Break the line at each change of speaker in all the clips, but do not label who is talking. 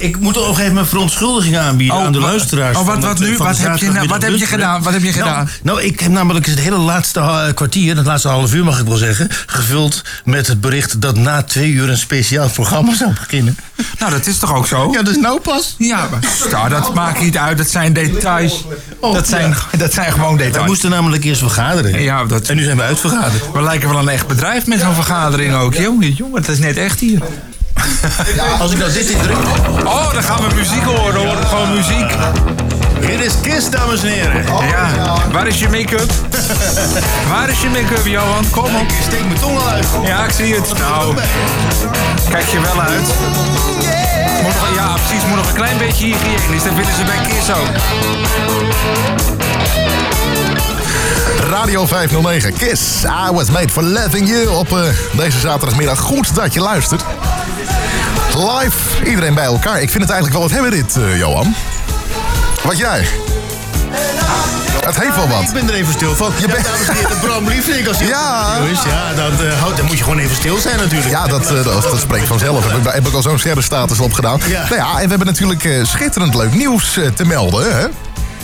Ik moet op een gegeven moment verontschuldiging aanbieden
Oh,
aan de
wat-
luisteraars.
oh, wat-
van de-
wat nu?
van de
Wat heb je
zaterdagmiddag
nou- wat heb je
lunchbrunch.
gedaan? Wat heb je
Nou,
gedaan?
Nou, ik heb namelijk het hele laatste eh, kwartier, het laatste half uur mag ik wel zeggen, gevuld met het bericht dat na twee uur een speciaal programma zou beginnen.
Nou, dat is toch ook zo?
Ja, dat is nou pas.
Ja, maar nou, dat maakt niet uit. Dat zijn details.
Oh,
Dat zijn, dat zijn gewoon
We
details.
moesten namelijk eerst vergaderen.
Ja, dat,
En nu zijn we uitvergaderd.
we lijken wel een echt bedrijf met zo'n vergadering ook. Jongen, jongen, het is net echt hier.
Als ik nou dit in druk.
Oh, dan gaan we muziek horen. Hoor gewoon muziek.
Hier is Kist, dames en heren.
Ja, waar is je make-up? Waar is je make-up, Johan? Kom op.
Ik steek mijn tong al uit.
Ja, ik zie het. Nou, kijk je wel uit. Moet nog- ja, precies. Moet nog een klein beetje hygiënisch. Dat vinden ze bij Kiss ook.
Radio 509, Kiss. I was made for loving you op eh, deze zaterdagmiddag. Goed dat je luistert. Live, iedereen bij elkaar. Ik vind het eigenlijk wel wat hebben dit, eh, Johan. Wat jij? Het heeft wel
Ik
wat.
ben er even stil van. Je
bent-
dames en heren, Bram Liefdink als hij
Ja.
op de radio is. Ja, dan, eh, houdt- dan moet je gewoon even stil zijn natuurlijk.
Ja, dat, eh, dat, dat spreekt vanzelf. Heb ik, heb ik al zo'n sterrenstatus opgedaan.
Ja.
Nou ja, en we hebben natuurlijk eh, schitterend leuk nieuws eh, te melden. Hè?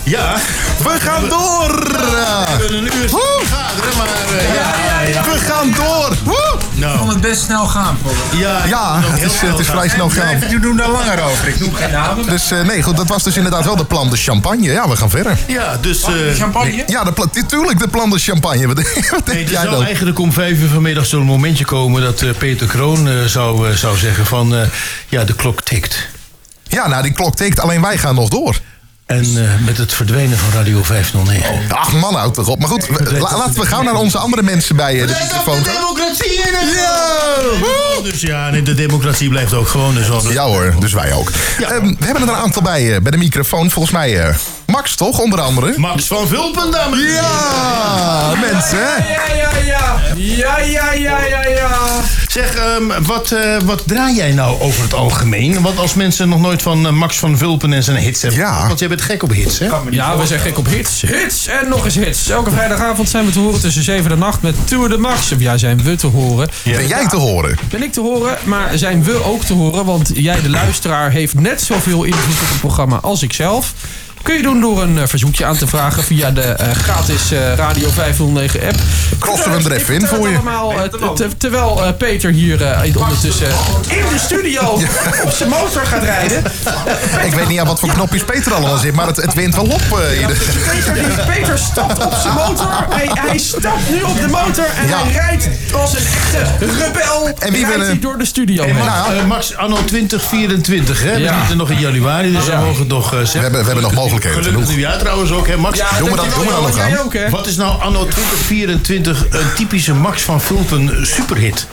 Ja.
We gaan door!
We hebben een uur
Woe!
vergaderen, maar... eh, ja, ja, ja.
We gaan door! Woe!
Nou,
het best snel gaan,
ja,
Ja,
nog
het
heel
is, het is
snel
vrij
gaan.
snel gaan.
Jullie doen daar langer over. Ik noem geen namen.
Dus eh, nee, goed, dat was dus inderdaad wel de plan de champagne. Ja, we gaan verder.
Ja, dus... eh,
Champagne?
Ja, de pla- natuurlijk de plan de champagne. Wat, wat
Nee,
denk
er
jij
zou
dan?
eigenlijk om vijf uur vanmiddag zo'n momentje komen dat eh, Peter Kroon eh, zou, eh, zou zeggen van eh, ja, de klok tikt.
Ja, nou, die klok tikt, alleen wij gaan nog door.
En eh, met het verdwijnen van Radio 509.
Ach man, houd toch op. Maar goed, we- la- laten we gauw naar onze andere mensen bij eh, de microfoon gaan.
democratie in het
Ja! Woe!
Dus ja, nee, de democratie blijft ook gewoon. Dus wat-
Oh. Ja hoor, dus wij ook. Ehm, we hebben er een aantal bij, eh, bij de microfoon. Volgens mij eh, Max, toch? Onder andere.
Max van Vulpen, dames en heren.
Ja, mensen. hè?
Ja, ja, ja. Ja, ja, ja, ja, ja.
Zeg, ehm, wat, eh, wat draai jij nou over het algemeen? Want als mensen nog nooit van eh, Max van Vulpen en zijn hits hebben...
Ja.
Want jij bent gek op hits, hè?
Ja, we zijn gek op hits. Hits en nog eens hits. Elke vrijdagavond zijn we te horen tussen 7 en 8 met Tour de Max. Of ja, zijn we te horen.
Ben jij te horen?
Ben ik te horen, maar zijn we ook te horen. Want jij, de luisteraar, heeft net zoveel invloed op het programma als ik zelf. Kun je doen door een eh, verzoekje aan te vragen via de eh, gratis eh, Radio 509 app.
Crossen we hem er even in voor je.
Allemaal, eh, te- terwijl eh, Peter hier eh, ondertussen in de studio op zijn motor gaat rijden.
Ik weet niet aan wat voor knopjes Peter allemaal zit, maar het, het wint wel op. eh, ieder-
Peter, die- Peter stapt op zijn motor. Hij, hij stapt nu op de motor en
Ja.
hij rijdt als een echte rebel.
En wie
rijdt
wil, eh,
hij door de studio heen.
Max,
Nou ja.
eh, Max anno 2024, hè? We
Ja.
zitten nog in januari, dus we
Ja.
mogen het nog eh, zeggen.
hebben- we hebben nog mogelijkheden,
Gelukkig
genoeg.
nieuwjaar trouwens ook, hè, Max?
Ja,
Doen we dat-
dankjewel,
doen we dat
Johan.
nog
Jij
aan?
ook, hè?
Wat is nou anno 2024 een typische Max van Vulpen superhit?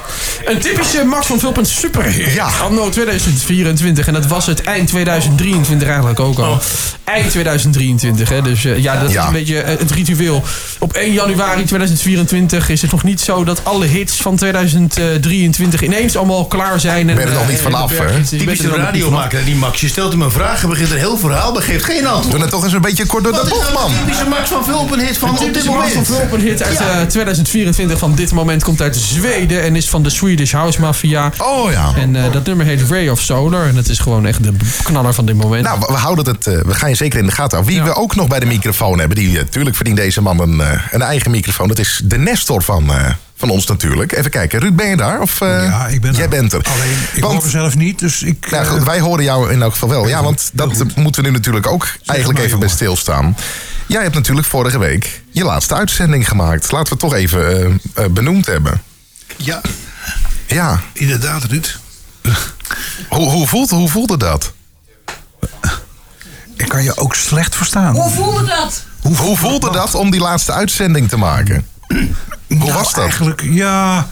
Een typische Max van Vulpen superhit.
Ja.
Anno 2024. En dat was het eind 2023 eigenlijk ook al. Eind 2023. Hè? Dus eh, ja, dat
Ja.
is een beetje eh, het ritueel. Op 1 januari 2024 is het nog niet zo dat alle hits van 2023 ineens allemaal klaar zijn. En,
Ben je er nog
eh,
niet
en
vanaf,
de berg-
hè?
je bent er
Typische
nog niet vanaf.
radiomaker, die Max. Je stelt hem een vraag, hij begint een heel verhaal, maar geeft geen antwoord.
Doe het toch eens een beetje kort door
Wat
de
is
bocht,
nou
man.
een typische Max van Vulpen hit van op dit
Typische Max van
moment?
Vulpen hit uit eh, 2024 van dit moment komt uit Zweden en is van de Swedish House Mafia.
Oh ja.
En eh, dat nummer heet Ray of Solar en het is gewoon echt de knaller van dit moment.
Nou, we- we houden het. eh, we gaan je zeker in de gaten houden. Wie we ook nog bij de microfoon hebben, die natuurlijk verdient deze man een, eh, een eigen microfoon. Dat is de Nestor van, eh, van ons natuurlijk. Even kijken, Ruud, ben je daar? Of, eh,
Ja, ik ben
Jij
er.
bent er.
Alleen, ik
want,
hoor mezelf niet, dus ik...
nou,
eh,
goed, wij horen jou in elk geval wel. Ja, want dat moeten we nu natuurlijk ook eigenlijk
maar,
even bij stilstaan. Jij hebt natuurlijk vorige week je laatste uitzending gemaakt. Laten we het toch even eh, eh, benoemd hebben.
ja,
Ja,
inderdaad, Ruud.
hoe, hoe, voelt, hoe voelde dat?
Ik kan je ook slecht verstaan.
Hoe voelde dat?
Hoe, hoe voelde dat om die laatste uitzending te maken? Hoe
Nou,
was dat?
Eigenlijk, ja,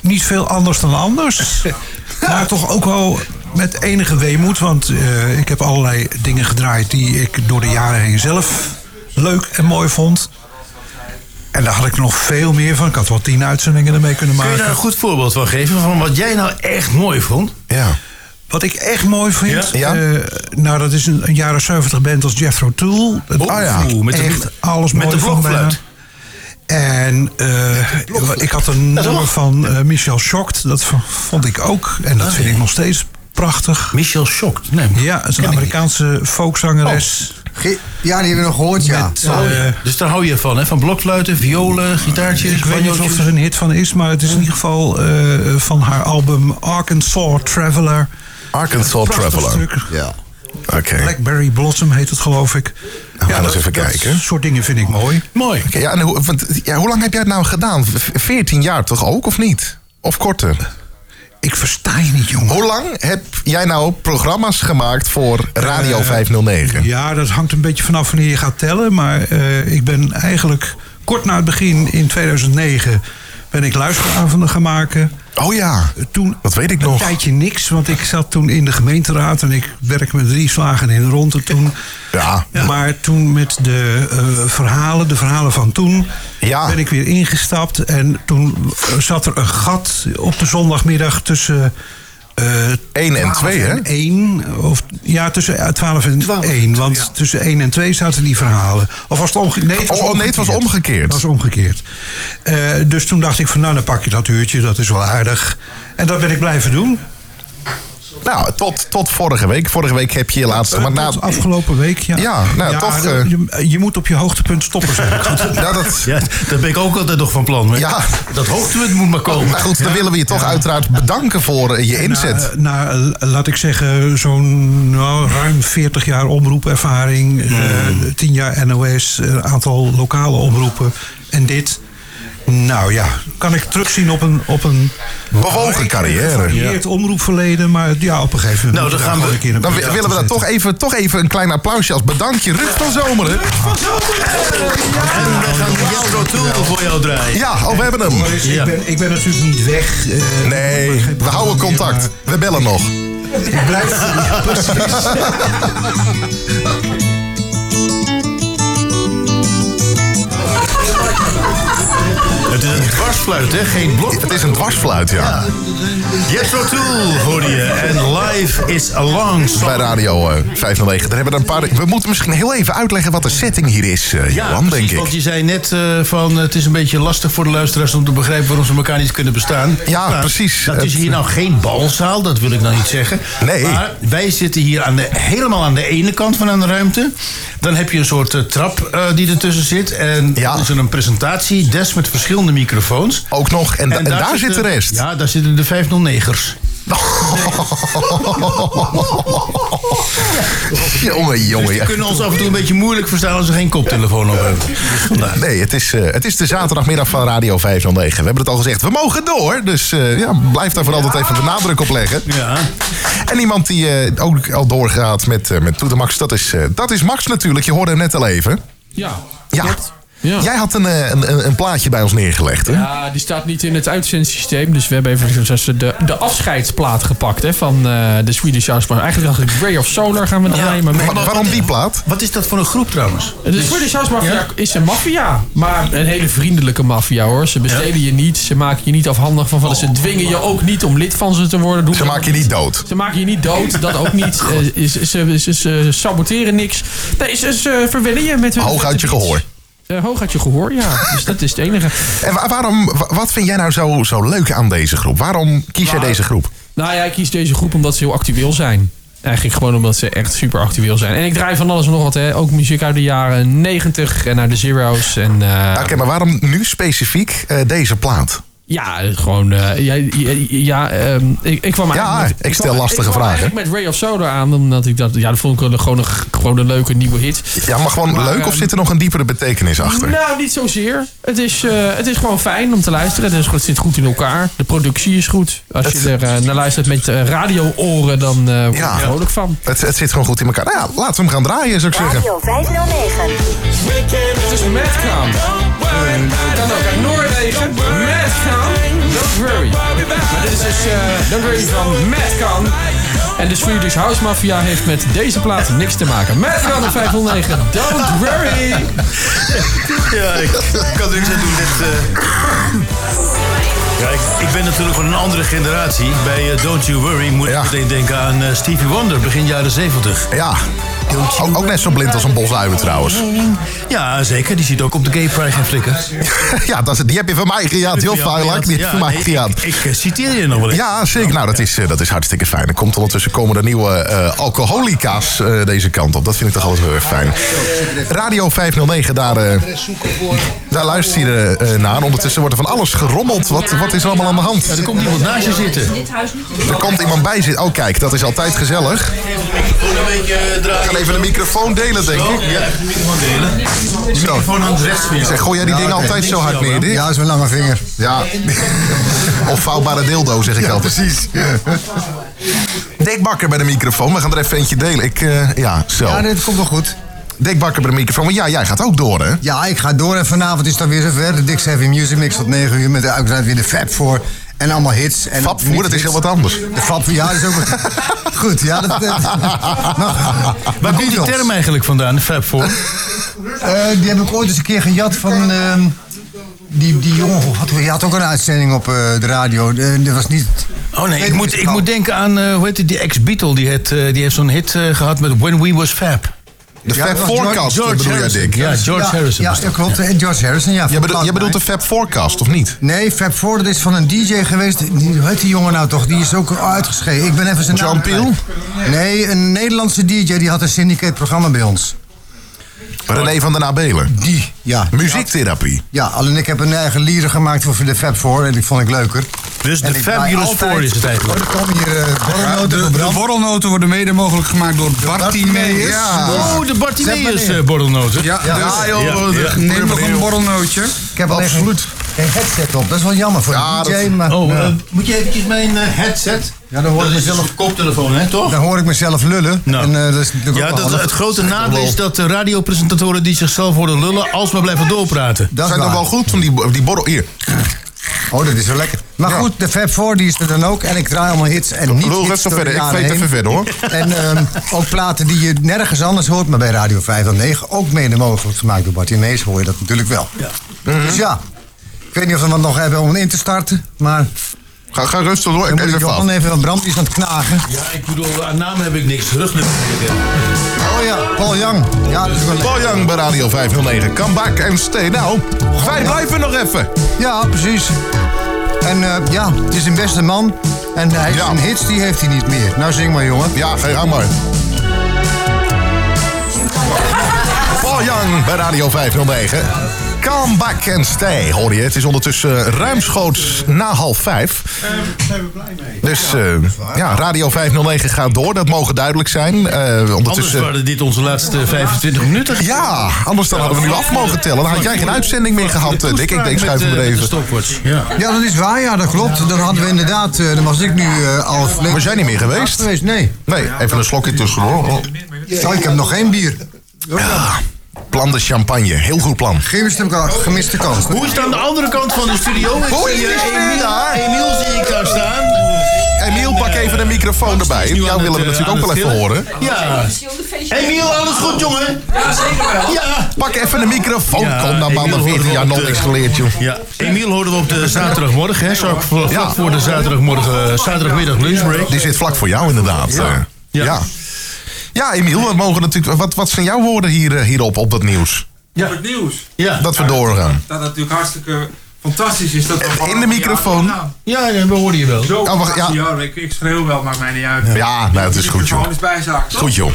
niet veel anders dan anders. maar toch ook wel met enige weemoed, want eh, ik heb allerlei dingen gedraaid die ik door de jaren heen zelf leuk en mooi vond. En daar had ik nog veel meer van. Ik had wel tien uitzendingen ermee kunnen
Kun je daar
maken.
een goed voorbeeld van geven van wat jij nou echt mooi vond?
Ja.
Wat ik echt mooi vind,
Ja? Ja?
eh, nou dat is een, een jaren 70 band als Jethro Tull. Dat
Oh
is
ja.
Ah echt
Oeh, met de-
alles
met
mooi
de
van bijna.
blokfluit.
En eh, ik had een
is
nummer
wel- Ah,
van eh, Michel Schokt. Dat v- vond ik ook. En dat vind ik nog steeds prachtig.
Michel Schokt. Nee,
Ja, het is een
ken ik
Amerikaanse folkzangeres.
Ge- Ja, die hebben we nog gehoord, ja.
Met,
niet.
eh,
dus daar hou je van, hè? Van blokfluiten, violen, gitaartjes,
ik weet niet of er een hit van is, maar het is in ieder geval eh, van haar album Arkansas Traveler.
Arkansas
Prachtig
Traveler.
stuk.
ja.
Oké.
Blackberry Blossom heet het, geloof ik.
gaan we eens even kijken.
Dat soort dingen vind ik mooi.
Mooi.
Oké, ja, en hoe, want, ja, hoe lang heb jij het nou gedaan? V- 14 jaar toch ook, of niet? Of korter?
Ik versta je niet, jongen.
Hoe lang heb jij nou programma's gemaakt voor Radio
Eh,
509?
Ja, dat hangt een beetje vanaf wanneer je gaat tellen. Maar eh, ik ben eigenlijk kort na het begin in 2009 ben ik luisteravonden gaan maken.
Oh ja,
Toen
dat weet ik
een
nog.
tijdje niks, want ik zat toen in de gemeenteraad en ik werkte met drie slagen in de ronde toen.
Ja.
Maar toen met de eh, verhalen, de verhalen van toen,
Ja.
ben ik weer ingestapt. En toen eh, zat er een gat op de zondagmiddag tussen... eh,
Eén en
12
twee, hè?
en 1, of, ja, tussen eh, 12 en 1. Want tussen 1 en 2 zaten die verhalen. Of was het omgekeerd? Nee, het was
Oh, nee, het was omgekeerd.
Het was omgekeerd. Eh, dus toen dacht ik van, nou, dan pak je dat uurtje. Dat is wel aardig. En dat ben ik blijven doen.
Nou, tot, tot vorige week. Vorige week heb je je laatste. Maar na,
Tot eh, afgelopen week, ja.
Ja, nou, toch,
dat-
eh.
je, je moet op je hoogtepunt stoppen, zeg ik.
Ja, dat,
Ja, dat ben ik ook altijd nog van plan. Maar
Ja.
Dat hoogtepunt moet maar komen.
nou goed, dan willen we je toch uiteraard bedanken voor eh, je inzet.
Na, na, eh, laat ik zeggen, zo'n nou, ruim 40 jaar omroepervaring. eh 10 jaar NOS, een aantal lokale omroepen. En dit. Nou ja, kan ik terugzien op een... Op een nou,
Bewogen carrière.
gevarieerd omroepverleden, maar ja, op een gegeven
Nou,
moment...
dan
moet je
gaan
daar
we-
gewoon een keer
Dan
een
wi-
punt
willen we daar
achter
toch even, toch even een klein applausje als bedankje. Rug van Zomeren.
En we gaan de Jethro Tull nou, voor jou draaien.
Ja, oh, we hebben
zetten.
hem.
Dus ik, ben, ik ben natuurlijk niet weg. eh, ik word
Nee,
geen
we houden
programma meer,
contact. We bellen nog.
maar Ik blijf... ja, precies.
Het is een dwarsfluit, hè? Geen blok.
Het is een dwarsfluit, ja.
Jethro Tull hoorde je. En life is a long song.
Bij Radio eh, 509. Daar hebben we, een paar, we moeten misschien heel even uitleggen wat de setting hier is, eh, Johan, denk
precies,
ik.
Want je zei net eh, van het is een beetje lastig voor de luisteraars om te begrijpen waarom ze elkaar niet kunnen bestaan.
Ja, precies.
Dat is
Het- eh,
hier nou geen balzaal, dat wil ik nou niet zeggen.
Nee.
Maar wij zitten hier aan de, helemaal aan de ene kant van een ruimte. Dan heb je een soort eh, trap eh, die ertussen zit. En
Ja.
dan is er een presentatiedesk met verschillende microfoons.
Ook nog. En, da- en daar, zit de
zitten-
rest.
Ja, daar zitten de 509ers.
jongen, jongen.
Dus Die
ja.
kunnen ons af en toe een beetje moeilijk verstaan als ze geen koptelefoon op hebben. Dus vandaar.
Nee, het is, eh, het is de zaterdagmiddag van Radio 509. We hebben het al gezegd. We mogen door. Dus eh, ja, blijf daar vooral altijd even de nadruk op leggen.
Ja.
En iemand die eh, ook al doorgaat met, eh met Toetemax, dat is, eh, dat is Max natuurlijk. Je hoorde hem net al even.
Ja.
Ja.
klopt. Ja.
Jij had een, eh, een, een- een plaatje bij ons neergelegd, hè?
Ja, die staat niet in het uitzendsysteem. Dus we hebben even de, de afscheidsplaat gepakt hè, van eh, de Swedish House Mafia. Eigenlijk dacht ik Ray of Solar gaan we draaien. maar
Wa- waarom die plaat?
Wat is dat voor een groep trouwens?
de Swedish House Mafia
Ja.
is een maffia. Maar een hele vriendelijke maffia hoor. Ze besteden je niet. Ze maken je niet afhandig van van. Ze dwingen je ook niet om lid van ze te worden. Doen
Ze
dat
maken je niet dood.
Ze maken je niet dood, dat ook niet. Eh, ze, ze, ze, ze saboteren niks. Nee, ze, ze verwennen je met hun...
Hoog uit je gehoor.
Eh, hoog uit je gehoor, ja. Dus dat is het enige.
En wa- waarom, wa- wat vind jij nou zo, zo leuk aan deze groep? Waarom kies jij
Nou,
deze groep?
Nou ja, ik kies deze groep omdat ze heel actueel zijn. Eigenlijk gewoon omdat ze echt super actueel zijn. En ik draai van alles en nog wat, hè. Ook muziek uit de jaren 90 en uit de zero's. En eh,
Oké, maar waarom nu specifiek eh, deze plaat?
ja, gewoon... eh, ja, ja, ja, ehm, ik, ik kwam
Ja,
eigenlijk
ik stel
kwam-
lastige
ik kwam
vragen.
eigenlijk met Ray of Soda aan, omdat ik dat... Ja, dat vond ik wel gewoon een, gewoon een leuke nieuwe hit.
Ja, maar gewoon
Maar,
leuk of
ehm,
zit er nog een diepere betekenis achter?
Nou, niet zozeer. Het is, eh, het is gewoon fijn om te luisteren. Het, is, het zit goed in elkaar. De productie is goed. Als je er eh, naar luistert met eh, radio-oren, dan eh word je
Ja.
er vrolijk van.
Het, het zit gewoon goed in elkaar. Nou ja, laten we hem gaan draaien, zou ik zeggen.
Radio 509.
Het is Madcam. Eh, Kan ook uit Noorwegen. Madcam. Don't worry. Maar dit is dus eh Don't Worry van Madcam. En de Swedish House Mafia heeft met deze plaat niks te maken. Madcam op 509. Don't worry.
Ja, ik kan er niks aan doen. Dit, eh, Ja, ik, ik ben natuurlijk van een andere generatie. Bij eh, Don't You Worry moet
Ja.
ik meteen denken aan eh, Stevie Wonder, begin jaren 70.
Ja, Ook, ook net zo blind als een bosuiven trouwens.
Ja, zeker. Die zit ook op de Gay Pride gaan flikken.
ja, dat is, die heb je van mij gejaagd. Heel fijn, like, die heb je van mij gejaagd.
Ik, ik, eh, citeer je nog wel eens.
Ja, zeker. Nou, dat is, eh, dat is hartstikke fijn. Er komt ondertussen komen er nieuwe eh, alcoholica's eh, deze kant op. Dat vind ik toch altijd heel erg fijn. Radio 509, daar, eh, daar luister je eh, eh, naar. Ondertussen wordt er van alles gerommeld. Wat, wat is er allemaal aan de hand?
er komt iemand naast je zitten.
Er komt iemand bij zitten. Oh, kijk, dat is altijd gezellig.
Een beetje eh, Oh,
Ik ga even de microfoon delen, denk ik.
Ja, even de microfoon delen. De
Zo.
microfoon hangt rechts van jou.
Zeg, gooi jij die dingen altijd zo hard neer? Dick?
Ja, is mijn lange vinger.
Ja. Of vouwbare dildo, zeg ik altijd. Precies. Dekbakker bij de microfoon. We gaan er even eentje delen. Ik, eh, ja, zo.
Ja, dit komt wel goed.
Dekbakker bij de microfoon. Maar ja, jij gaat ook door, hè?
Ja, ik ga door en vanavond is dan weer zover. De Dix Heavy Music Mix tot 9 uur met de uiteraard weer de Fab voor. En allemaal hits. En
Fab voor, dat is heel wat anders.
De Fab voor, ja, dat is ook wat. Goed, ja. Dat, dat- Nou,
Waar komt die
Beatles.
term eigenlijk vandaan, de Fab voor?
Eh, die heb ik ooit eens een keer gejat van. ehm, die, die jongen had, die had ook een uitzending op eh, de radio. Eh, dat was niet.
Oh nee, ik
Weet
moet,
niet.
ik moet denken aan, eh, hoe heet het, die ex-Beatle. Die, het, eh, die heeft zo'n hit eh, gehad met When We Was Fab.
De
Ja,
Fab
dat was
Forecast
George
bedoel jij,
Harrison.
Dick.
Ja, George
Ja,
Harrison.
Ja,
was dat.
dat klopt. eh, George Harrison, ja.
Jij bedoelt, jij bedoelt de
een.
Fab Forecast, of niet?
Nee, Fab Four, dat is van een DJ geweest. Die, hoe heet die jongen nou toch? Die is ook uitgeschreven. Ik ben even zijn
John
naam kwijt. Nee, een Nederlandse DJ die had een syndicate-programma bij ons.
René van den Abelen.
Die, ja.
Muziektherapie.
Ja, alleen ik heb een eigen lieder gemaakt voor de Fab Four en die vond ik leuker.
Dus de
En ik draai
Fabulous
altijd-
Four is het eigenlijk.
Oh, er komen hier eh,
Ja,
borrelnoten
de,
voor
de
Bram.
borrelnoten worden mede mogelijk gemaakt door Bartimeus.
Ja.
Oh, de Bartimeus eh borrelnoten.
Ja,
Ja,
dus
joh, ja.
neem nog een borrelnootje.
Ik heb alleen geen, geen headset op. Dat is wel jammer voor
Ja,
de DJ,
dat-
maar
Oh,
ja.
eh, moet je eventjes mijn eh, headset?
Ja, dan hoor
dat
ik
is
mezelf-
dus een koptelefoon, hè, toch?
dan hoor ik mezelf lullen.
Nou.
En, eh, dat is natuurlijk
Ja,
ook wel
dat,
handig.
het grote nadeel is dat de radiopresentatoren die zichzelf horen lullen, alsmaar blijven doorpraten.
Dat is
Zijn dat
waar.
wel goed van die, die borrel? Hier,
Oh, dat is wel lekker. Maar
Ja.
goed, de Fab 4 die is er dan ook. En ik draai allemaal hits en niet
lul
hits
net zo
door
verder.
de
Ik
jaren
weet even
heen.
verder, hoor.
En ehm, ook platen die je nergens anders hoort, maar bij Radio 509 ook mede mogelijk gemaakt door Bart Inees hoor je dat natuurlijk wel.
Mhm.
Dus ja, ik weet niet of we wat nog hebben om in te starten, maar
Ga, ga rustig door. Ik eet
dan moet ik
even af.
Johan even, want Bram die is aan het knagen.
Ja, ik bedoel, aan naam heb ik niks. Rugnummer.
Oh ja, Paul Young. Ja, dat is wel lekker.
Paul Young bij Radio 509. Come back and stay. Nou, wij blijven nog even.
Ja, precies. En eh, ja, het is een beste man. En hij
Ja.
zijn hits die heeft hij niet meer. Nou zing maar jongen.
Ja, ga je gang maar. Paul Young bij Radio 509. Come back and stay, hoor je. Het is ondertussen eh, ruimschoots na half vijf. Dus eh, ja, Radio 509 gaat door, dat mogen duidelijk zijn. Eh
Anders
ondertussen...
waren dit onze laatste 25 minuten.
Ja, anders dan hadden we nu af mogen tellen. Dan had jij geen uitzending meer gehad, eh, Dick. Ik denk, schuif hem er even.
Stopwatch. Ja.
Ja, dat is waar, ja, dat klopt. Dan hadden we inderdaad, eh, dan was ik nu eh, al flink.
Was jij niet meer geweest?
geweest? Nee.
Nee, even een slokje tussendoor. Oh,
Oh, ik heb nog geen bier.
Ja, plan de champagne. Heel goed plan.
Gemiste, ka- gemiste kans.
Hoe is het aan de andere kant van de studio? Ik
Hoe is
zie, eh,
het
Emiel,
daar?
Emiel zie ik daar staan.
Emiel, pak even de microfoon erbij.
Nu aan
Jou
het,
willen we
eh,
natuurlijk
aan
ook wel
het
even
gillen.
horen.
Ja. Emiel, alles goed, jongen? Ja, zeker wel. Ja.
Pak even de microfoon.
Ja,
Kom dan, man.
Emiel
Dat
hoorde
14 jaar
wel op
nog
de-
niks geleerd, joh.
eh, Ja, Emiel hoorden we op de zaterdagmorgen, hè? Zo vlak
Ja.
voor de zaterdagmorgen, eh, zaterdagmiddag lunchbreak.
Die zit vlak voor jou, inderdaad. eh.
Ja.
Ja. Ja, Emiel, we mogen natuurlijk, wat, wat zijn jouw woorden hier, eh, hierop op dat nieuws?
Ja.
Op het nieuws.
Ja,
Dat we doorgaan.
Dat natuurlijk hartstikke fantastisch is. Dat we
Eh, In de
gewoon-
microfoon.
Ja,
ja, ja, we hoorden je wel.
Zo,
Oh, wacht, ja.
ja, ik, ik schreeuw wel, maakt mij niet uit.
Ja, nou, het is goed, joh.
Gewoon eens bijzaak.
Goed, joh.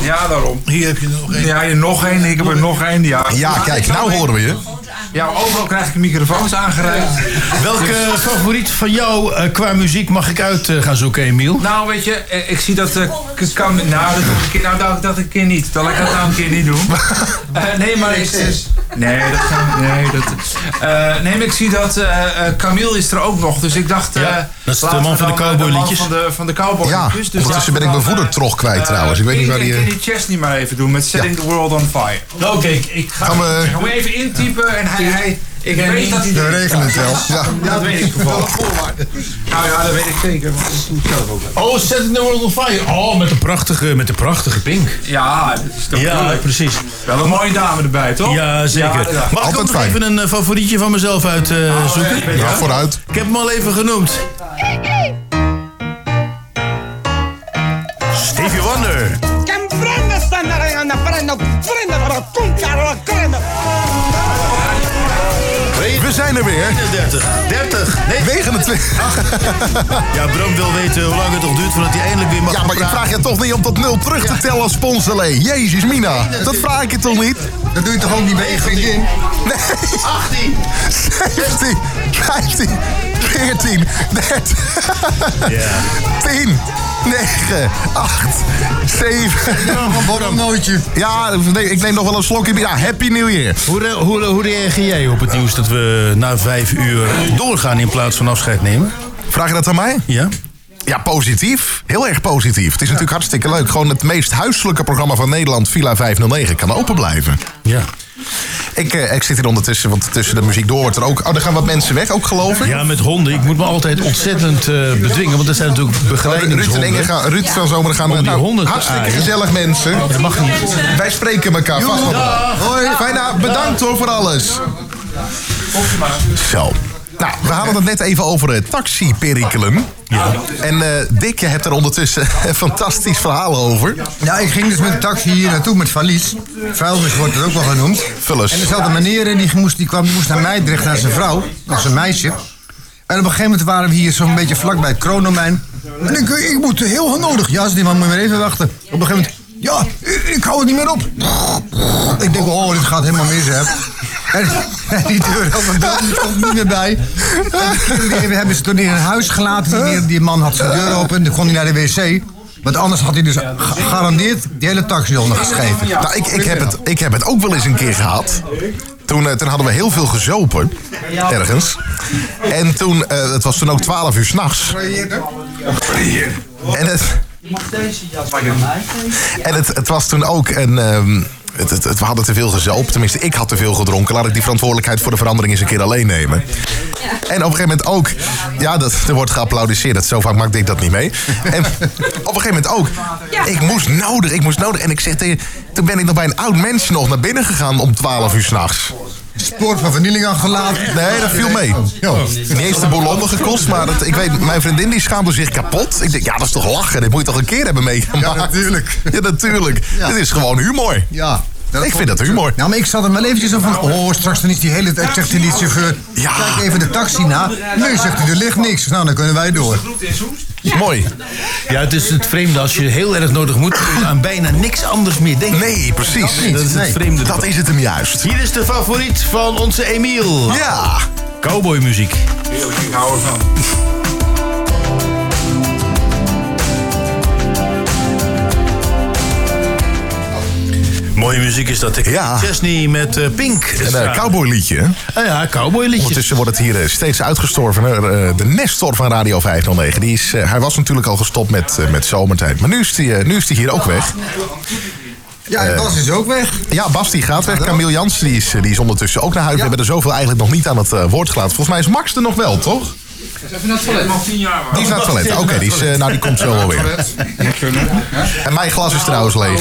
Ja, daarom.
Hier heb je nog één.
Ja, hier nog één, ik heb er nog één, ja.
Ja, kijk, nou horen we je.
Ja, overal krijg ik microfoons aangereikt.
Welke eh, favoriet van jou eh, qua muziek mag ik uit eh, gaan zoeken, Emiel?
Nou, weet je, eh, ik zie dat... eh, k- kan, nou, dat doe ik, een keer- nou, dat, dat een keer niet. Dat laat ik dat nou een keer niet doen. Eh, nee, maar ik... Nee, dat kan nee, dat, eh, nee, maar ik zie dat eh, eh, Camille is er ook nog. Dus ik dacht... eh,
Ja, dat is de
laten
man
we
van de
dan, eh,
cowboyliedjes.
man van de, van de cowboy
Ja,
liedjes. Dus
ondertussen ben ik mijn voedertrog kwijt trouwens. Ik weet niet waar die,
Ik
eh,
kan die Chesney maar even doen met Setting the World on Fire.
Oké, ik ga...
Gaan we...
Gaan we even intypen en hij... hij ik weet dat hij...
De regen het wel.
Ja.
Ja, dat weet ik toevallig. Nou ja, dat weet ik zeker. want dat doe ik zelf ook wel.
Oh, Set It the World on Fire. Oh, met de prachtige, met de prachtige pink.
Ja, dat is toch
Ja,
leuk.
precies.
Wel een mooie dame erbij, toch?
Ja, zeker.
Ja, Oh, ja.
Mag ik
Altijd
ook nog
fijn.
even een eh, favorietje van mezelf uitzoeken?
Ja, vooruit.
ik heb hem al even genoemd. Stevie Wonder.
We zijn er weer.
31, 30, nee.
29.
Ja, Bram wil weten hoe lang het nog duurt voordat hij eindelijk weer mag
Ja,
gaan
maar ik
praten.
vraag je toch niet om tot nul terug te tellen als sponsorlee. Jezus, Mina. Dat vraag ik je toch niet?
Dat doe je toch ook niet bij je vriendin?
Nee.
18!
17, 15, 14, 13,
Ja.
10, 9, 8, 7.
Een borrelnootje.
Ja, nee, ik neem nog wel een slokje bier. Ja, Happy New Year.
Hoe, re- hoe, hoe reageer jij op het nieuws dat we na vijf uur doorgaan in plaats van afscheid nemen?
Vraag je dat aan mij?
Ja?
Ja, positief. Heel erg positief. Het is natuurlijk hartstikke leuk. Gewoon het meest huiselijke programma van Nederland, Villa 509, kan open blijven.
Ja.
Ik, eh, ik zit hier ondertussen, want tussen de muziek door wordt er ook... Oh, er gaan wat mensen weg, ook geloof ik.
Ja, met honden. Ik moet me altijd ontzettend eh, bedwingen, want er zijn natuurlijk
Ruud en Inge
begeleidingshonden.
gaan, Ruud van Zomeren gaan...
Om Oh, die
nou,
honden te
hartstikke
aaien.
gezellig, mensen.
Dat mag niet.
Wij spreken elkaar vast wel. Hoi, fijne avond. Bedankt hoor voor alles. Zo. Nou, we hadden het net even over het taxi-perikelen. En eh, Dick, je hebt er ondertussen een fantastisch verhaal over.
Ja, ik ging dus met een taxi hier naartoe met valies. Vuilnis wordt het ook wel genoemd.
Vul eens.
En er zat een meneer in, die, moest, die kwam die moest naar Meidrecht, naar zijn vrouw, naar zijn meisje. En op een gegeven moment waren we hier zo'n beetje vlak bij het Kronomijn. En ik, ik moet heel hard nodig. Ja, zei die man moet je maar even wachten. Op een gegeven moment, ja, ik, ik hou het niet meer op. Ik denk, oh, dit gaat helemaal mis, hè. En, en die deur op een deur, die komt niet meer bij. En die hebben ze toen in een huis gelaten. Die, meneer- die man had zijn deur open, dan kon hij naar de wc. Want anders had hij dus gegarandeerd de hele taxi ondergeschreven.
Nou, ik, ik, heb het, ik heb het ook wel eens een keer gehad. Toen, eh, toen hadden we heel veel gezopen. Ergens. En toen, eh, het was toen ook 12 uur s'nachts. En het, En het, het was toen ook een. ehm, het, het, het- we hadden te veel gezopen. Tenminste, ik had te veel gedronken. Laat ik die verantwoordelijkheid voor de verandering eens een keer alleen nemen. En op een gegeven moment ook. Ja, dat, er wordt geapplaudisseerd. Dat, zo vaak maakte ik dat niet mee. En op een gegeven moment ook. Ik moest nodig, ik moest nodig. En ik zeg tegen. Toen ben ik nog bij een oud mens nog naar binnen gegaan om 12 uur s'nachts.
Spoor van vernieling aangelaten.
Nee, dat viel mee.
Ja.
Niet eens de boulonde gekost, maar dat, ik weet, mijn vriendin die schaamde zich kapot. Ik denk, ja, dat is toch lachen? Dit moet je toch een keer hebben meegemaakt?
Ja, natuurlijk.
Ja, natuurlijk. Dit is gewoon humor.
Ja.
ik vind dat humor.
Nou, maar ik zat hem wel eventjes zo van... Oh, straks dan is die hele... Ik zeg tegen die chauffeur...
Ja.
Kijk even de taxi na. Nee, zegt hij, er ligt niks. Nou, dan kunnen wij door.
Mooi.
Ja, het is het vreemde als je heel erg nodig moet kun je aan bijna niks anders meer denken.
Nee, precies.
Dat is het
nee.
vreemde.
Dat is het hem juist.
Hier is de favoriet van onze Emiel.
Ja.
Cowboymuziek.
Ik hou ervan.
Mooie muziek is dat. Ik
Ja.
Chesney met eh, Pink.
Een eh, cowboyliedje. hè?
Ah ja, cowboyliedjes.
Ondertussen wordt het hier eh, steeds uitgestorvener. Eh, De Nestor van Radio 509. Die is, eh, hij was natuurlijk al gestopt met, eh, met zomertijd. Maar nu is hij nu is die hier ook weg.
Ja, het was dus ook weg.
Ja, Bas die gaat weg. Camille Jansen die is, eh, die is ondertussen ook naar huis. We hebben er zoveel eigenlijk nog niet aan het eh, woord gelaten. Volgens mij is Max er nog wel, toch?
Nog tien jaar
Die is naar het toilet. Oké, die, is, eh, nou, die komt zo wel weer. En mijn glas is trouwens leeg.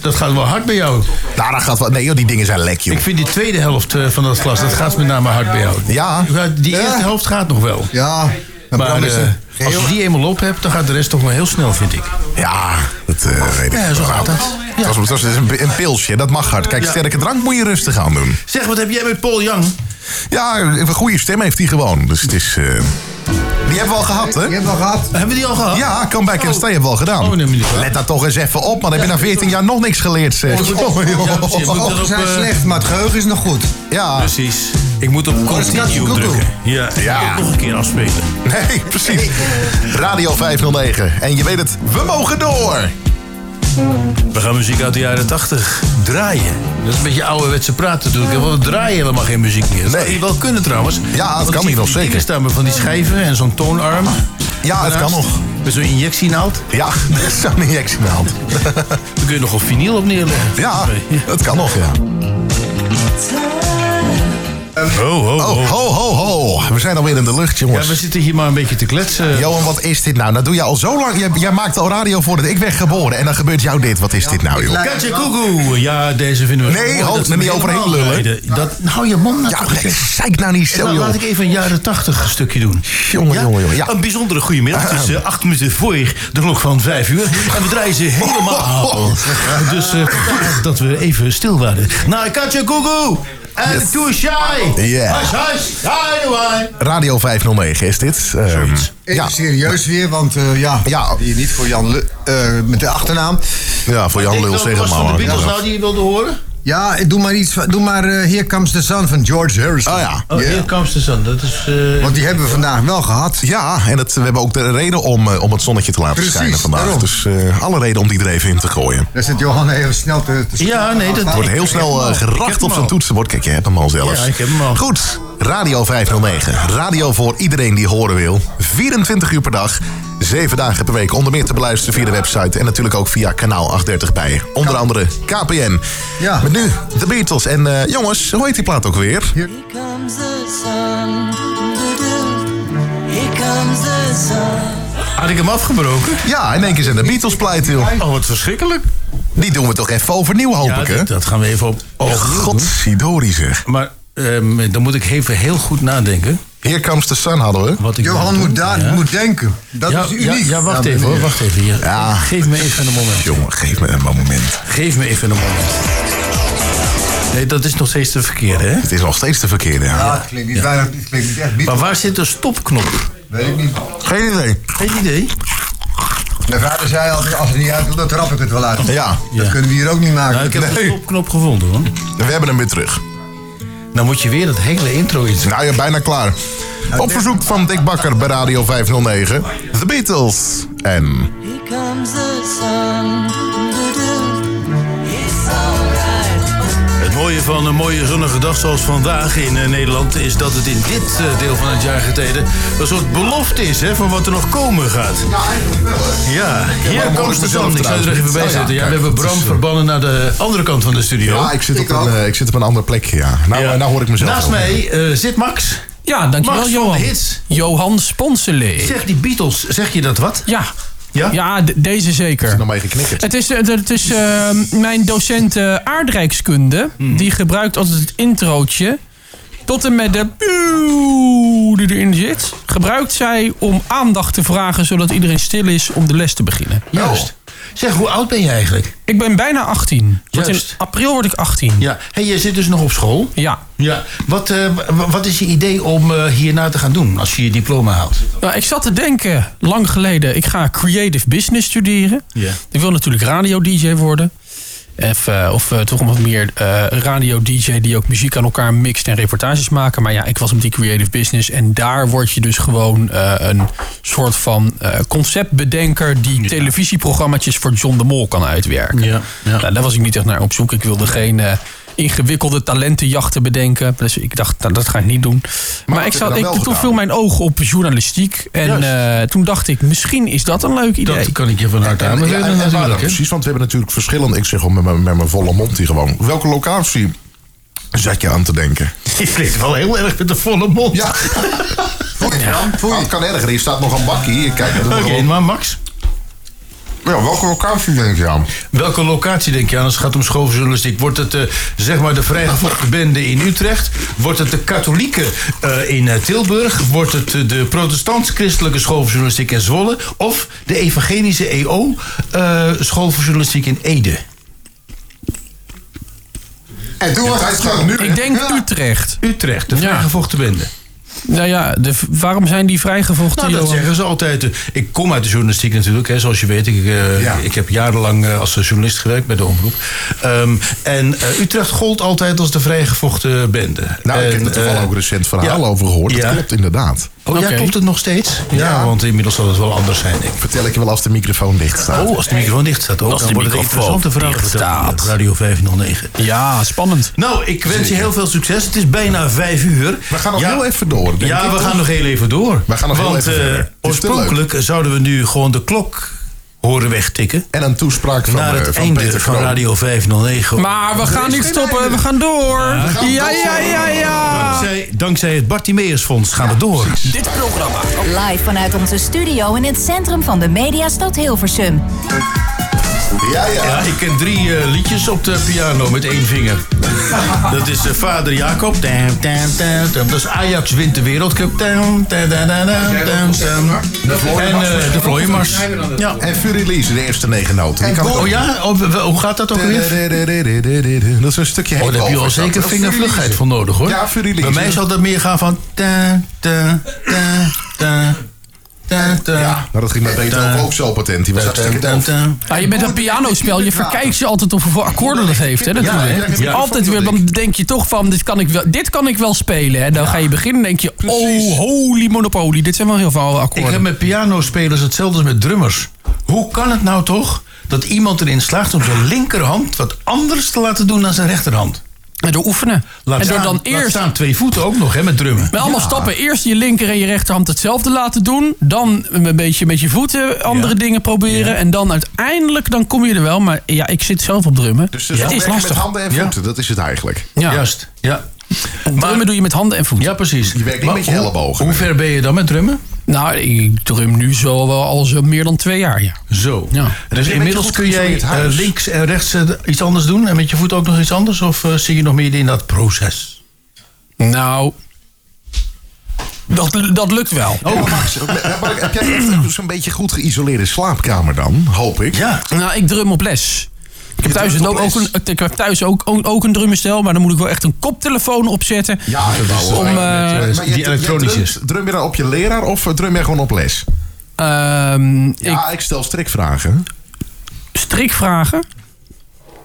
Dat gaat wel hard bij jou.
Nou, dat gaat wel. Nee, joh, die dingen zijn lek, joh.
Ik vind die tweede helft eh, van dat glas, dat gaat met name hard bij jou.
Ja.
Die eerste helft gaat nog wel.
Ja.
Maar
Bram is
eh,
een
als je die eenmaal op hebt, dan gaat de rest toch wel heel snel, vind ik.
Ja, dat eh, weet ik
Ja, zo
wel.
gaat dat.
Het was, het was dus een, een pilsje, dat mag hard. Kijk, sterke drank moet je rustig aan doen.
Zeg, wat heb jij met Paul Young?
Ja, een goede stem heeft hij gewoon. Dus het is... eh, Die hebben we al gehad,
Je
hè?
hebt wel gehad.
Hebben we die al gehad?
Ja, Comeback and Stay hebben we al gedaan.
Oh, nee, maar niet waar.
Let daar toch eens even op, man. Heb je na 14 jaar nog niks geleerd, zeg. Oh, joh.
precies. Moet eh, ik
Ogen
erop,
zijn
eh,
slecht, maar het geheugen is nog goed.
Ja,
Precies. Ik moet op
Katje
continue
Google.
drukken. Ja, ik
Ja.
moet het nog een keer afspelen.
nee, precies. Radio 509. En je weet het, we mogen door.
We gaan muziek uit de jaren 80 draaien. Dat is een beetje ouderwetse praten natuurlijk. hè, want We draaien helemaal geen muziek meer. Dat
Nee.
zou je wel kunnen trouwens.
dat
Want
kan
ik zie
hier nog
die dingen
zeker.
staan met van die schijven en zo'n toonarm.
Ja, het kan
Daarnaast,
nog.
Met zo'n injectienaald.
Ja, dat is zo'n injectie in de hand.
Daar kun je nog op vinyl op neerleggen.
Ja, dat kan nog, ja.
Time
Ho, ho, ho.
Oh, ho, ho, ho. We zijn alweer in de lucht,
Ja, we
jongens.
zitten hier maar een beetje te kletsen.
Johan, wat is dit nou? Dat doe je al zo lang. Jij, jij maakt al radio voordat ik werd geboren. En dan gebeurt jou dit. Wat is dit nou, joh?
Katje Koekoe. Ja, deze vinden we...
oh. Nee,
mooi,
hoofd
dat we
er niet
helemaal
overheen lullen.
rijden. Dat, hou je mond nou
Ja,
toch.
nee, zeik nou niet zo,
Nou,
joh.
laat ik even een jaren tachtig stukje doen.
Jongen, jongen, jongen, ja.
Een bijzondere goede middag. Het is eh, acht minuten voor de klok van vijf uur. En we draaien ze helemaal. Dus eh, vandaar dat we even stil waren. Nou, Katja Koekoe. En Too Shy.
Ja.
Hush, hush. Hi, hi.
Radio 509 is dit. Ehm, ja.
Ja. Serieus weer, want eh, ja,
Ja.
die niet voor Jan Lu- eh, met de achternaam.
ja, voor Jan
Ik
Lul
wil
zeg het
was van de
maar.
Beatles nou
Ja.
die je wilde horen?
Ja, doe maar iets. van- Doe maar eh, Here Comes the Sun van George Harrison.
Oh ja.
Oh,
Ja.
Here Comes the Sun. Dat is... eh,
Want die hebben we vandaag wel gehad.
Ja, en het, we hebben ook de reden om, eh, om het zonnetje te laten
Precies,
schijnen vandaag.
daarom.
Dus eh, alle reden om die er even in te gooien.
Daar zit Johan even snel te, te
ja, nee, dat
Het wordt heel snel eh, geracht op zijn toetsenbord. Kijk, je hebt hem al zelfs.
Ja, ik heb hem al.
Goed, Radio 509. Radio voor iedereen die horen wil. 24 uur per dag, 7 dagen per week. Onder meer te beluisteren via de website. En natuurlijk ook via kanaal 830 bij. Onder andere KPN.
Ja.
Met nu de Beatles. En eh, jongens, hoe heet die plaat ook weer?
Here comes the sun. Doo-doo. Here comes the sun.
Had ik hem afgebroken?
Ja, in één keer zijn de Beatles pleit, joh.
Oh, wat verschrikkelijk.
Die doen we toch even overnieuw, hoop
Ja,
ik, hè?
dat, dat gaan we even op.
Oh,
opnieuw doen.
godsidori zeg.
Maar ehm, dan moet ik even heel goed nadenken.
Here comes the sun hadden we.
Wat ik
Johan
wil doen.
moet daar
Ja.
moet denken. Dat
ja,
is uniek.
Ja, ja, wacht
Ja,
even hoor,
meneer.
wacht even. hier.
Ja.
Geef me even een moment.
Jongen, geef me een moment.
Geef me even een moment. Nee, dat is nog steeds de verkeerde, hè?
Het is nog steeds de verkeerde. ja.
Ja, Ah, het klinkt niet bijna, het klinkt niet echt biet.
Maar waar zit de stopknop?
Weet ik niet.
Geen idee.
Geen idee.
Mijn vader zei altijd, als het niet uit wil, dan trap ik het wel uit.
Ja,
Ja.
Dat kunnen we hier ook niet maken.
Nou, ik heb de
Nee.
stopknop gevonden, hoor.
we hebben hem weer terug.
Dan moet je weer dat hele intro iets...
Nou, ja, bijna klaar. Op verzoek van Dick Bakker bij Radio 509. The Beatles. En
Here comes the sun. Doo-doo. It's alright.
Het mooie van een mooie zonnige dag zoals vandaag in eh, Nederland... is dat het in dit eh, deel van het jaar getijden een soort belofte is... Hè, van wat er nog komen gaat. Ja, hier
waarom hoor
komt
ik
de
mezelf
zon. Ik zou er
trouwens
even
niet?
bij
Oh ja,
zetten. Ja, we
kijk,
hebben
dat
Bram
is, eh,
verbannen naar de andere kant van de studio.
ja, ik zit, op een, eh, ik zit op een ander plekje, ja. Nou, eh, nou hoor ik mezelf.
Naast
wel.
mij eh, zit Max.
Ja, dankjewel
Max van
Johan.
de Hits.
Johan Sponsele.
Zeg die Beatles, zeg je dat wat?
Ja.
Ja?
Ja, d- deze zeker.
Nog mee geknikkerd.
Het is, eh, het is eh, mijn docent eh, aardrijkskunde.
Hmm.
Die gebruikt altijd het introotje. Tot en met de pieuw die erin zit. Gebruikt zij om aandacht te vragen zodat iedereen stil is om de les te beginnen.
Juist. Zeg, hoe oud ben je eigenlijk?
Ik ben bijna 18. Want in
Juist.
april word ik 18.
Ja, hey, je zit dus nog op school.
Ja.
Ja. Wat, eh, w- wat is je idee om eh, hierna te gaan doen als je je diploma haalt?
Nou, ik zat te denken, lang geleden, ik ga creative business studeren.
Ja.
Ik wil natuurlijk radio-dj worden. Of, eh, of eh, toch wat meer eh, radio-dj die ook muziek aan elkaar mixt en reportages maken. Maar ja, ik was op die creative business. En daar word je dus gewoon eh, een soort van eh, conceptbedenker... die televisieprogramma's voor John de Mol kan uitwerken.
Ja, ja.
Nou, daar was ik niet echt naar op zoek. Ik wilde geen eh, ingewikkelde talentenjachten bedenken. Dus ik dacht, nou, dat ga ik niet doen.
wat
Maar, ik
heb je
zat,
dan
ik,
wel
toen
gedaan?
viel mijn oog op journalistiek. En eh, toen dacht ik, misschien is dat een leuk idee.
Dat kan ik je van harte
Ja,
aanbevelen
en- en- en-
natuurlijk. hè?
precies, want we hebben natuurlijk verschillende... Ik zeg al met mijn, met mijn volle mond hier gewoon. Welke locatie zat je aan te denken?
Je klinkt wel heel erg met de volle mond.
Ja. Foei, Foei. Nou, Het kan erger. Hier staat nog een bakkie. Hier, Kijk, dat doen we
Oké,
gewoon.
maar Max,
ja, welke locatie denk je aan?
welke locatie denk je aan als het gaat om schooljournalistiek? Wordt het eh, zeg maar de vrijgevochten bende in Utrecht? Wordt het de katholieke eh, in eh, Tilburg? Wordt het eh, de protestants-christelijke school voor journalistiek in Zwolle? Of de evangelische EO eh school voor journalistiek in Ede?
En toen was hij schoon. Nu
Ik denk Utrecht.
Utrecht, de
Ja.
vrijgevochten bende.
Nou ja, de, waarom zijn die vrijgevochten,
Nou, dat
Johan?
zeggen ze altijd. Ik kom uit de journalistiek natuurlijk, hè, zoals je weet. Ik, eh,
Ja.
ik heb jarenlang eh, als journalist gewerkt bij de omroep. Ehm, en eh, Utrecht gold altijd als de vrijgevochten bende.
Nou, ik heb
En,
er toevallig
eh,
ook recent verhaal
ja.
over gehoord.
Ja.
Dat klopt inderdaad.
Oh ja,
Oké.
klopt het nog steeds? Ja, want inmiddels zal het wel anders zijn, denk ik.
Vertel ik je wel als de microfoon dicht staat.
Oh, als de microfoon dicht staat ook,
Als de
dan wordt het een
microfoon
interessante verhaal
dicht
verteld.
staat.
Radio 509.
Ja, spannend.
Nou, ik wens je heel veel succes. Het is bijna vijf uur.
We gaan nog heel even door, denk
ja,
ik,
we
toch?
gaan nog heel even door.
We gaan nog heel
Want,
even
eh,
verder. Het is te
oorspronkelijk zouden we nu gewoon de klok horen wegtikken.
En een toespraak van,
Naar
eh,
het
van
einde
Peter
van
Kroon.
Radio 509.
Maar we gaan niet stoppen, we gaan door. Ja, ja, ja, ja.
Dankzij, dankzij het Bartimeusfonds gaan we door.
Dit programma.
Live vanuit onze studio in het centrum van de Mediastad Hilversum.
Ja, ja.
Ja, ik ken drie eh, liedjes op de piano met één vinger. Dat is eh, Vader Jacob. Tam, tam, tam, tam. Dat is Ajax wint de wereldcup. Tam, tam, tam, tam, tam, tam. En eh, de Vlooienmars. Ja.
En Fury Lease, de eerste negen noten. Die kan ik ook-
Oh ja? Oh, w- w- hoe gaat dat ook weer?
Dat is een stukje
Oh, daar heb je al
hangover,
zeker
dat.
vingervlugheid voor nodig, hoor.
Ja,
Bij
Fury Lease.
mij zal dat meer gaan van... Ta, ta, ta, ta, ta, ta.
Maar dat ging met Beethoven ook zo patent. Die was
Ta, ta,
hartstikke
ta,
doof.
ta.
Ja, je bent een pianospel, je verkijkt je altijd op hoeveel akkoorden dat heeft, hè,
Ja,
natuurlijk.
ja, ja.
Altijd weer, dan denk je toch van, dit kan ik wel, dit kan ik wel spelen. En dan ga je beginnen en denk je, oh, holy monopoly, dit zijn wel heel veel
Ik heb
akkoorden.
met pianospelers hetzelfde als met drummers. Hoe kan het nou toch dat iemand erin slaagt om zijn linkerhand wat anders te laten doen dan zijn rechterhand?
En door oefenen. en door
staan,
dan
laat
eerst
staan twee voeten ook nog hè, met drummen.
Met allemaal stappen. Eerst je linker en je rechterhand hetzelfde laten doen. Dan een beetje met je voeten andere
Ja.
dingen proberen. En dan uiteindelijk, dan kom je er wel. Maar ja, ik zit zelf op drummen.
Dus
het is
met
lastig.
handen en
Ja.
voeten, dat is het eigenlijk.
Ja.
Juist. Ja.
drummen doe je met handen en voeten.
ja, precies.
Je werkt niet
Maar
met je
hoe-
ellebogen.
Hoe ver ben je dan met drummen?
Nou, ik drum nu zo wel al zo meer dan twee jaar, ja.
Zo.
Ja.
Dus inmiddels
goed
kun jij
geïsoleerd huis.
eh, links en rechts eh, iets anders doen en met je voet ook nog iets anders? Of eh, zit je nog meer in dat proces?
Nou, dat, dat lukt wel.
Oh, Max, maar- maar heb jij echt zo'n beetje goed geïsoleerde slaapkamer dan, hoop ik?
Ja.
Nou, ik drum op les. Ik heb thuis,
drumt
ook,
op
ook
les?
een, ik heb thuis ook, ook, ook een drummenstel, maar dan moet ik wel echt een koptelefoon opzetten.
Ja, dat is
Om, eh,
dus die elektronisches.
Drum je dan op je leraar of eh, drum je gewoon op les?
Ehm, ik
Ja, ik stel strikvragen.
strikvragen.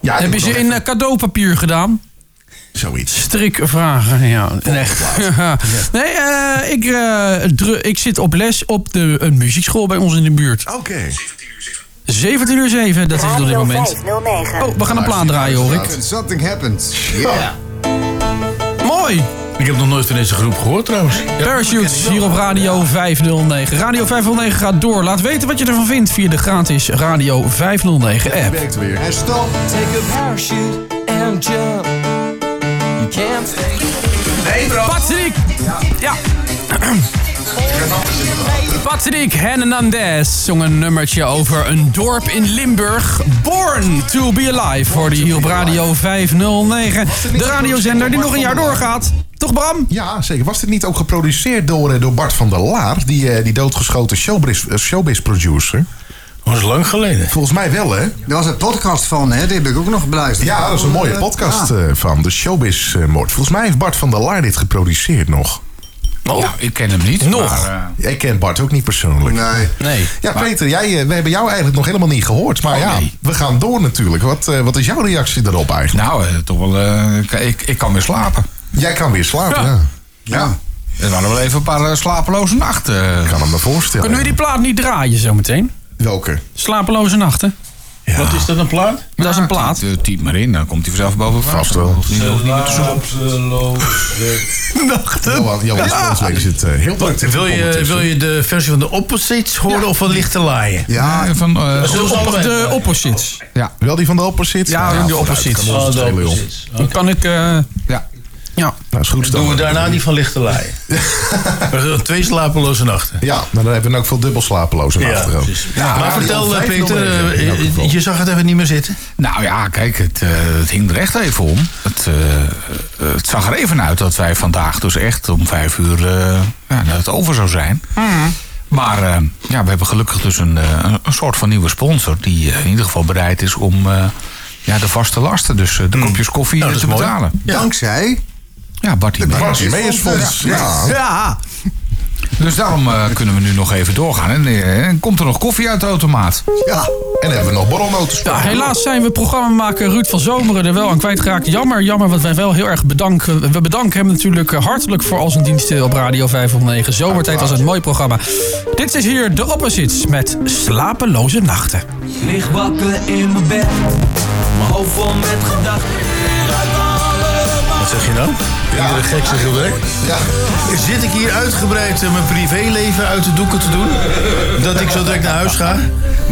Ja, ik
Heb je
moet
ze
nog
in eh,
even-
cadeaupapier gedaan?
Zoiets.
Strikvragen, ja. Nee, nee eh, ik, eh, dru- ik zit op les op de, een muziekschool bij ons in de buurt.
Oké.
17 uur 7, dat is het op dit moment. Oh, we gaan een plaat draaien, hoor ik.
Something happens. Yeah.
Mooi!
Ik heb nog nooit van deze groep gehoord trouwens.
Parachutes hier op Radio 509. Radio 509 gaat door. Laat weten wat je ervan vindt via de gratis Radio 509 app.
Werkt weer.
En stop.
Take a parachute and jump. You can't
Patrick! Ja. Patrick Hernandez zong een nummertje over een dorp in Limburg. Born to be alive voor de hier op Radio 509. De radiozender die nog een jaar doorgaat. Toch Bram?
Ja, zeker. Was dit niet ook geproduceerd door, eh, door Bart van der Laar? Die, eh, die doodgeschoten showbiz, eh, showbiz-producer?
Dat is lang geleden.
Volgens mij wel, hè?
Daar was een podcast van, hè? Die heb ik ook nog beluisterd. Ah.
Ja, dat is een mooie podcast eh, van de showbiz-moord. Volgens mij heeft Bart van der Laar dit geproduceerd nog.
Nou,
Oh, ik ken hem niet.
Nog.
maar, eh,
Jij kent Bart ook niet persoonlijk.
Nee.
Nee.
Ja, Peter, jij, eh, we hebben jou eigenlijk nog helemaal niet gehoord.
Oh,
Maar ja, we gaan door natuurlijk. Wat, eh, wat is jouw reactie daarop eigenlijk?
nou, eh, toch wel. eh, ik- ik, ik kan weer slapen.
Nou.
Jij kan weer slapen. Ja.
Ja.
Er waren wel even een paar eh, slapeloze nachten.
Ik kan hem me voorstellen.
Kunnen we die plaat niet draaien zometeen?
Welke?
Slapeloze nachten.
Wat is dat een plaat?
Dat is een plaat.
Typ, typ maar in, dan komt hij vanzelf boven water.
Vast wel.
Hoeft niet- hoeft niet meer te zoeken.
Johan, Johan Sponswijk is het eh, heel druk.
Wil je, wil je de versie van de opposites horen of van lichte laaien?
Ja,
Eh, van, eh,
Zullen we
Op
allebei
de
draaien?
opposites.
ja, wel die van de oppositie?
Ja, die oppositie.
vooruit, kan ons het
Oh, de
schelen, joh.
opposites.
Dan kan ik... eh,
ja.
ja.
Nou, is goed.
Doen
dan.
we daarna die van lichte laaien. We doen Twee slapeloze nachten.
Ja, maar dan hebben we ook veel dubbel slapeloze nachten. ook.
precies.
Ja,
maar
Radio
vertel eh,
509
Peter, eh,
in elk geval.
je zag het even niet meer zitten.
Nou ja, kijk, het, eh, het hing er echt even om. Het, eh, eh, het zag er even uit dat wij vandaag dus echt om vijf uur eh, ja, dat het over zou zijn. Maar eh, ja, we hebben gelukkig dus een, eh, een- een soort van nieuwe sponsor... die eh, in ieder geval bereid is om eh, ja, de vaste lasten, dus eh, de kopjes koffie
Nou,
eh,
dat
te
is mooi.
betalen.
Dankzij.
Ja, Bartie. Bart.
Bart Meersfonds. Ja.
Ja.
Dus daarom eh, kunnen we nu nog even doorgaan. En eh, komt er nog koffie uit de automaat?
ja. En dan hebben we nog borrelnoten.
Ja, Nou, helaas zijn we programmamaker Ruud van Zomeren er wel aan kwijtgeraakt. Jammer, jammer, want wij wel heel erg bedanken. We bedanken hem natuurlijk eh, hartelijk voor al zijn diensten op Radio 509. Zomertijd was een mooi programma. Dit is hier de Opposites met Slapeloze Nachten.
Lig wakker in mijn bed, mijn hoofd vol met gedachten. Ruik allemaal
Wat zeg je nou? Ja. Iedere gekse gebrek.
Ja.
Zit ik hier uitgebreid eh, mijn privéleven uit de doeken te doen? Dat ik zo direct naar huis ga?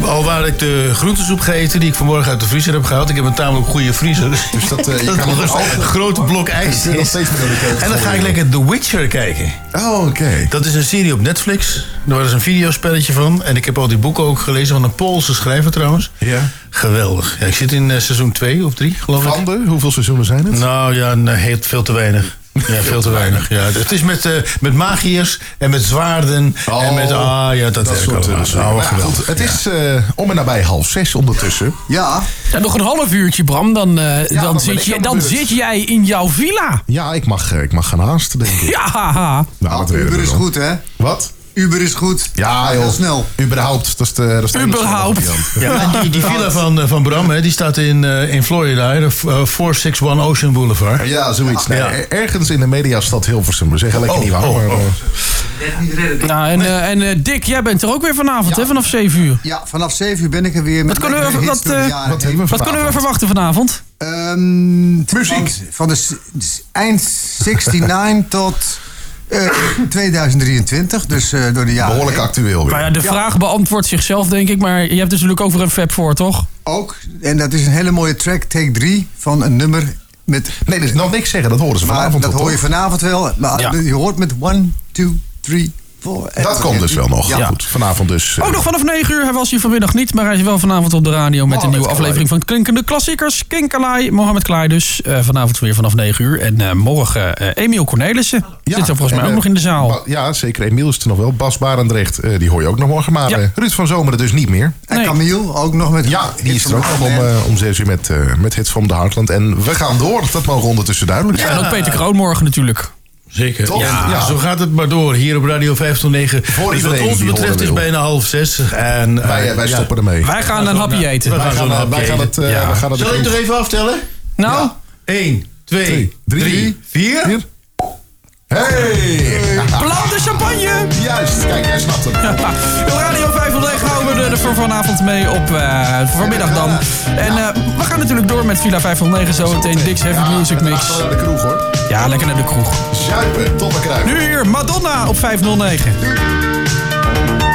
Al waar ik de groentesoep gegeten die ik vanmorgen uit de vriezer heb gehaald. Ik heb een tamelijk goede vriezer. Dus
dat, eh, je kan
nog
nog
een
altijd-
grote blok ijs
Je kunt nog
is.
steeds met elkaar
En dan ga ik
volgen.
lekker The Witcher kijken.
Oh, oké.
Dat is een serie op Netflix. Daar was een videospelletje van. En ik heb al die boeken ook gelezen van een Poolse schrijver trouwens.
Ja.
Geweldig. Ja, ik zit in eh, seizoen 2 of 3, geloof ik.
Van de, hoeveel seizoenen zijn het?
Nou ja, nee, heel, veel te weinig. Ja, veel te weinig. Ja, het is met, eh, met magiërs en met zwaarden. en met, ah ja, dat, werkt
Oh, soort
allemaal.
eh, dingen.
Nou,
Maar ja,
geweldig.
goed, Het is eh, om en nabij half zes ondertussen.
Ja,
Ja, nog een half uurtje, Bram. Dan, eh,
dan
dan,
ben ik
zit, je,
aan de
dan
beurt.
zit jij in jouw villa.
Ja, ik mag, eh, ik mag gaan haasten, denk ik.
Ja, haha.
Nou, dat
Uber
redden we
is
dan.
goed, hè?
Wat?
Uber is goed.
Ja, joh.
heel snel.
Überhaupt. Dat is de, dat is de enige
Überhaupt.
variant.
Ja, maar die, die villa van, eh, van Bram, hè, die staat in, eh, in Florida, hè, de eh, 461 Ocean Boulevard.
Ja, zoiets. Nee,
Ja.
er- Ergens in de mediastad Hilversum. We zeggen lekker
Oh,
niet waar.
oh,
maar,
oh.
eh,
Nou, en, eh, en eh, Dick, jij bent er ook weer vanavond, hè? Vanaf 7 uur.
Ja, vanaf 7 uur ben ik er weer met
Wat kunnen we-
lekkere hits
wat,
door de
eh,
jaren
Wat
heen.
hebben we
Wat kunnen we
vanavond?
verwachten vanavond?
Ehm,
Muziek.
Van, van de s- s- eind 69 tot eh, 2023. Dus eh, door de jaren.
Behoorlijk
heen.
actueel weer.
Nou ja, de vraag beantwoordt zichzelf, denk ik. Maar je hebt dus natuurlijk ook weer een fab voor, toch?
Ook. En dat is een hele mooie track, take 3 van een nummer met.
Nee, dat is nog niks zeggen. Dat horen ze
Maar
vanavond.
dat
al,
hoor je
toch?
vanavond wel. Maar
Ja.
je hoort met 1, 2, 3, 4.
Dat komt dus wel nog.
Ja.
Goed, vanavond dus. eh,
Ook nog vanaf 9 uur. Hij was hier vanmiddag niet, maar hij is wel vanavond op de radio... met
Oh,
een nieuwe
met
aflevering van Klinkende Klassiekers. King Kalai, Mohammed Klaai dus. eh, vanavond weer vanaf 9 uur. En eh, morgen eh, Emiel Cornelissen.
Ja,
Zit er volgens mij
en,
ook
eh,
nog in de zaal.
Ba- Ja, zeker. Emiel is er nog wel. Bas Barendrecht, eh, die hoor je ook nog morgen. Maar
Ja.
eh, Ruud van Zomeren dus niet meer.
En
Nee.
Camille ook nog met.
Ja, die is
hits
er
van
ook nog om,
Madeleine.
eh, om zes uur met, eh met Hits van de Heartland. En we gaan door. Dat mogen ondertussen duidelijk zijn.
En ook Peter Kroon morgen natuurlijk.
Zeker.
Toch?
Ja,
Ja.
zo gaat het maar door hier op Radio 509.
Voor
Dus wat
iedereen
ons
die
betreft
horen
is
wil.
bijna half zes. En, eh,
Wij, eh, wij
ja.
stoppen ermee.
Wij gaan een happy eten.
We
Wij
gaan zo'n
gaan, eh,
hapje
wij gaan
eten.
het, eh,
Ja.
we gaan het
Zal
de
ik
kroeg-
nog even aftellen?
Nou,
1, 2,
Twee, drie,
3, 4.
Hier. Hey!
blauw de champagne!
Juist, kijk, jij snapt het.
Ja, op Radio 509 houden we er voor vanavond mee op eh, vanmiddag dan. En eh, we gaan natuurlijk door met Villa 509 zo meteen. Dick's Heavy Music Mix.
Naar de kroeg hoor.
Ja, lekker naar de kroeg.
Zuipen tot elkaar.
Nu hier Madonna op 509.
Hey,